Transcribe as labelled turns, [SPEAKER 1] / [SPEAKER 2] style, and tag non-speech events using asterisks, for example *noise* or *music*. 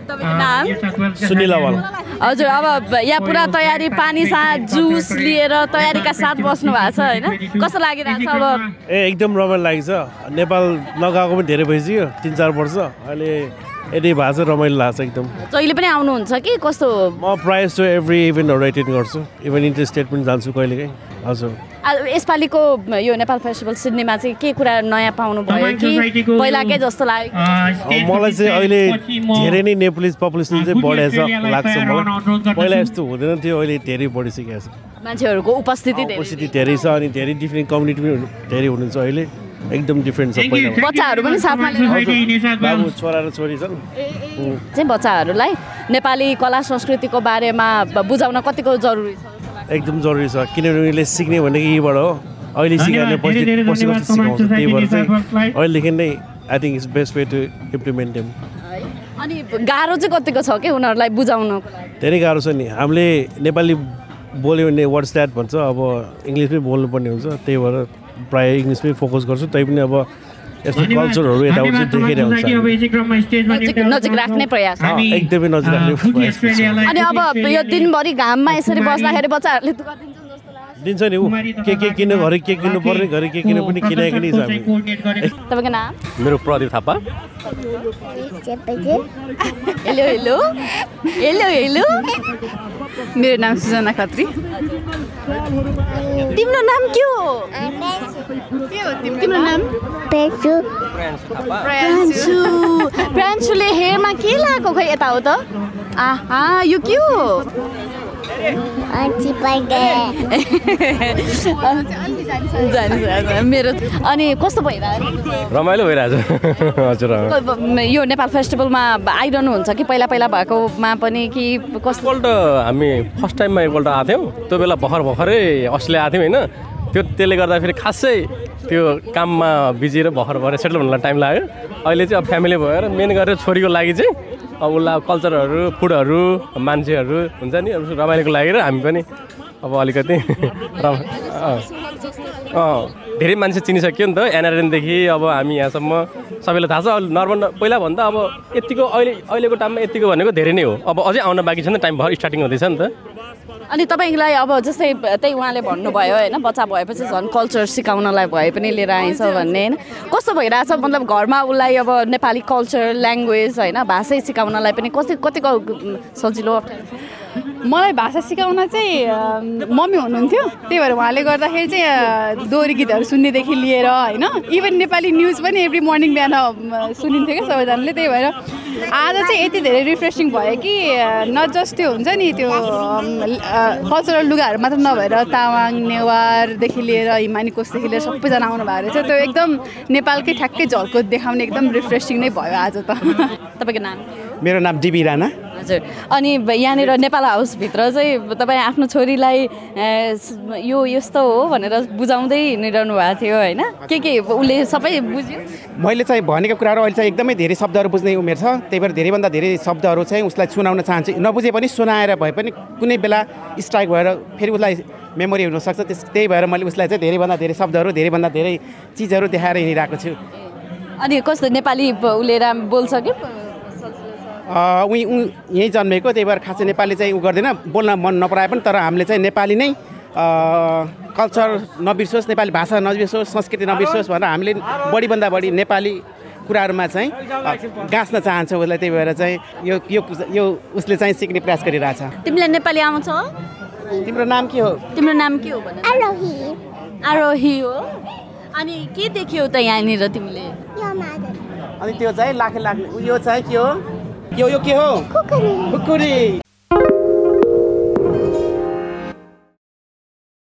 [SPEAKER 1] नाम
[SPEAKER 2] सुनिल अवाल
[SPEAKER 1] हजुर अब यहाँ पुरा तयारी पानी साथ जुस लिएर तयारीका साथ बस्नु भएको छ होइन कस्तो लागिरहेको छ अब
[SPEAKER 2] ए एकदम रमाइलो लागेको छ नेपाल नगएको पनि धेरै भइसक्यो तिन चार वर्ष अहिले यदि भएको छ रमाइलो लाग्छ एकदम
[SPEAKER 1] जहिले पनि आउनुहुन्छ कि कस्तो
[SPEAKER 2] म प्रायः जस्तो एभ्री इभेन्टहरू एटेन्ड गर्छु इभेन्ट इन्टर स्टेट पनि जान्छु कहिलेकाहीँ हजुर
[SPEAKER 1] आ- यसपालिको यो नेपाल फेस्टिभल सिडनीमा चाहिँ के कुरा नयाँ पाउनु भयो कि
[SPEAKER 3] सोसाइटीको-
[SPEAKER 1] पहिलाकै जस्तो लाग्यो
[SPEAKER 2] अब मलाई चाहिँ अहिले धेरै नै नेपाली पपुलेसन चाहिँ बढेछ लाग्छ मलाई पहिला यस्तो हुँदैन थियो अहिले धेरै बढिसकेको छ
[SPEAKER 1] मान्छेहरूको उपस्थिति धेरै।
[SPEAKER 2] अपोसिटी धेरै छ अनि धेरै डिफ्रेन्ट कम्युनिटी पनि हुनु- धेरै हुनुहुन्छ अहिले एकदम डिफ्रेन्ट छ पहिला
[SPEAKER 1] बच्चाहरू पनि साथमा
[SPEAKER 2] बाबु छोरा र छोरी छन् उम्,
[SPEAKER 1] चाहिँ बच्चाहरूलाई नेपाली कला संस्कृतिको बारेमा ब- बुझाउन कतिको जरुरी छ
[SPEAKER 2] एकदम जरुरी छ किनभने उनीहरूले सिक्ने भनेको यहीबाट हो अहिले सिक्यो भने
[SPEAKER 3] धन्यवाद,
[SPEAKER 2] पछि
[SPEAKER 3] धेरै धेरै
[SPEAKER 2] पछि
[SPEAKER 3] धन्यवाद
[SPEAKER 2] पछि सिकाउँछ
[SPEAKER 3] समाज
[SPEAKER 2] त्यही भएर
[SPEAKER 3] सोसाइटी
[SPEAKER 2] चाहिँ
[SPEAKER 3] नेटवर्कलाई।
[SPEAKER 2] अहिलेदेखि नै I think it's best way to implement them
[SPEAKER 1] अनि गाह्रो चाहिँ कतिको छ कि उनीहरूलाई बुझाउनको लागि
[SPEAKER 2] धेरै गाह्रो छ नि हामीले नेपाली बोल्यो भने वाट्स द्याट भन्छ अब इङ्ग्लिसमै बोल्नुपर्ने हुन्छ त्यही भएर प्रायः इङ्ग्लिसमै फोकस गर्छु तै पनि अब यस्तो कल्चरहरू यताउति देखेर हुन्छ हामी।
[SPEAKER 1] नजिक- नजिक राख्ने प्रयास।
[SPEAKER 2] अँ, एकदमै नजिक राख्ने प्रयास गर्छौँ।
[SPEAKER 1] अनि अब यो दिनभरि घाममा यसरी बस्दाखेरि बच्चाहरूले दुःख दिन्छन् जस्तो लाग्छ
[SPEAKER 2] दिन्छ नि ऊ के के किन्नु घरि के किन्नु पर्ने घरि के किन्नु पनि किनाएको नै छ हामी
[SPEAKER 1] तपाईँको नाम
[SPEAKER 4] मेरो Pradeep Thapa
[SPEAKER 1] hello hello hello hello
[SPEAKER 5] मेरो नाम सुजना खत्री
[SPEAKER 1] तिम्रो नाम के हो
[SPEAKER 5] तिम्रो नाम
[SPEAKER 1] प्रान्सु प्रान्सुले हेरमा के लगाएको खै यता हो त आहा यो के हो जाने जाने, मेरो अनि कस्तो भइरहेको
[SPEAKER 4] रमाइलो भइरहेछ हजुर अँ।
[SPEAKER 1] छ? यो नेपाल फेस्टिभलमा आइरहनु हुन्छ कि पहिला पहिला भएकोमा पनि कि कस्तो
[SPEAKER 4] एकपल्ट हामी फर्स्ट टाइममा एकपल्ट आएको थियौँ त्यो बेला भर्खर भर्खरै अस्ट्रेलिया आएको थियौँ होइन त्यो त्यसले गर्दा फेरि खासै त्यो काममा बिजी र भर्खर भएर सेटल हुनलाई टाइम लाग्यो अहिले चाहिँ अब फ्यामिली भएर मेन गरेर छोरीको लागि चाहिँ अब उसलाई अब कल्चरहरू फुडहरू मान्छेहरू हुन्छ नि अब रमाइलोको लागि र हामी पनि अब अलिकति *laughs* रमा अँ। अँ धेरै मान्छे चिनिसक्यो नि त एनआरएनदेखि अब हामी यहाँसम्म सबैलाई थाहा छ अब नर्मल पहिलाभन्दा अब यतिको अहिले अहिलेको टाइममा यतिको भनेको धेरै नै हो अब अझै आउन बाँकी छ नि त टाइम भर स्टार्टिङ हुँदैछ नि त
[SPEAKER 1] अनि तपाईँलाई अब जस्तै त्यही उहाँले भन्नुभयो होइन बच्चा भएपछि झन् कल्चर सिकाउनलाई भए पनि लिएर आइन्छ भन्ने होइन कस्तो भइरहेछ मतलब घरमा उसलाई अब नेपाली कल्चर ल्याङ्ग्वेज होइन भाषै सिकाउनलाई पनि कति कतिको उम्, सजिलो अप्ठ्यारो?
[SPEAKER 5] मलाई भाषा सिकाउन चाहिँ अम, मम्मी हुनुहुन्थ्यो त्यही भएर उहाँले गर्दाखेरि चाहिँ अ, दोहोरी गीतहरू सुन्नेदेखि लिएर होइन इभन नेपाली न्युज पनि एभ्री मर्निङ बिहान अम, सुनिन्थ्यो क्या सबैजनाले त्यही भएर आज चाहिँ यति धेरै रिफ्रेसिङ भयो कि अ, न जस्ट त्यो हुन्छ नि त्यो कल्चरल लुगाहरू मात्र नभएर तामाङ नेवारदेखि लिएर हिमानी कोषदेखि लिएर सबैजना आउनु भएको रहेछ त्यो एकदम नेपालकै ठ्याक्कै झल्को देखाउने एकदम रिफ्रेसिङ नै भयो आज त
[SPEAKER 1] तपाईँको नाम
[SPEAKER 6] मेरो नाम डिबी राणा
[SPEAKER 1] हजुर अनि ब- यहाँनिर नेपाल हाउसभित्र चाहिँ तपाईँ आफ्नो छोरीलाई ए, स- यो यस्तो हो भनेर बुझाउँदै हिँडिरहनु भएको थियो होइन के के उसले सबै बुझ्यो
[SPEAKER 6] मैले चाहिँ भनेको कुराहरू अहिले चाहिँ एकदमै धेरै शब्दहरू बुझ्ने उमेर छ त्यही भएर धेरैभन्दा धेरै शब्दहरू चाहिँ उसलाई सुनाउन चाहन्छु नबुझे पनि सुनाएर भए पनि कुनै बेला स्ट्राइक भएर फेरि उसलाई मेमोरी हुनसक्छ त्यस त्यही भएर मैले उसलाई चाहिँ धेरैभन्दा धेरै शब्दहरू धेरैभन्दा धेरै चिजहरू देखाएर हिँडिरहेको छु
[SPEAKER 1] अनि कस्तो नेपाली ब- उसले राम बोल्छ कि
[SPEAKER 6] अँ, उही उ यहीँ जन्मेको त्यही भएर खासै नेपाली चाहिँ उ गर्दैन बोल्न मन नपराए पनि तर हामीले चाहिँ नेपाली नै अँ, कल्चर नबिर्सियोस् नेपाली भाषा नबिर्सियोस् संस्कृति नबिर्सियोस् भनेर हामीले बढीभन्दा बढी नेपाली कुराहरूमा चाहिँ अँ, गाँच्न चाहन्छौँ उसलाई त्यही भएर चाहिँ यो यो पुज- यो उसले चाहिँ सिक्ने प्रयास गरिरहेछ
[SPEAKER 1] तिमीलाई नेपाली आउँछ
[SPEAKER 6] तिम्रो नाम के हो
[SPEAKER 1] तिम्रो नाम के हो भने आरोही हो अनि के देख्यौ त यहाँनिर तिमीले
[SPEAKER 6] अनि त्यो चाहिँ लाखे लाग्ने यो चाहिँ के हो यो यो के हो खुकुरी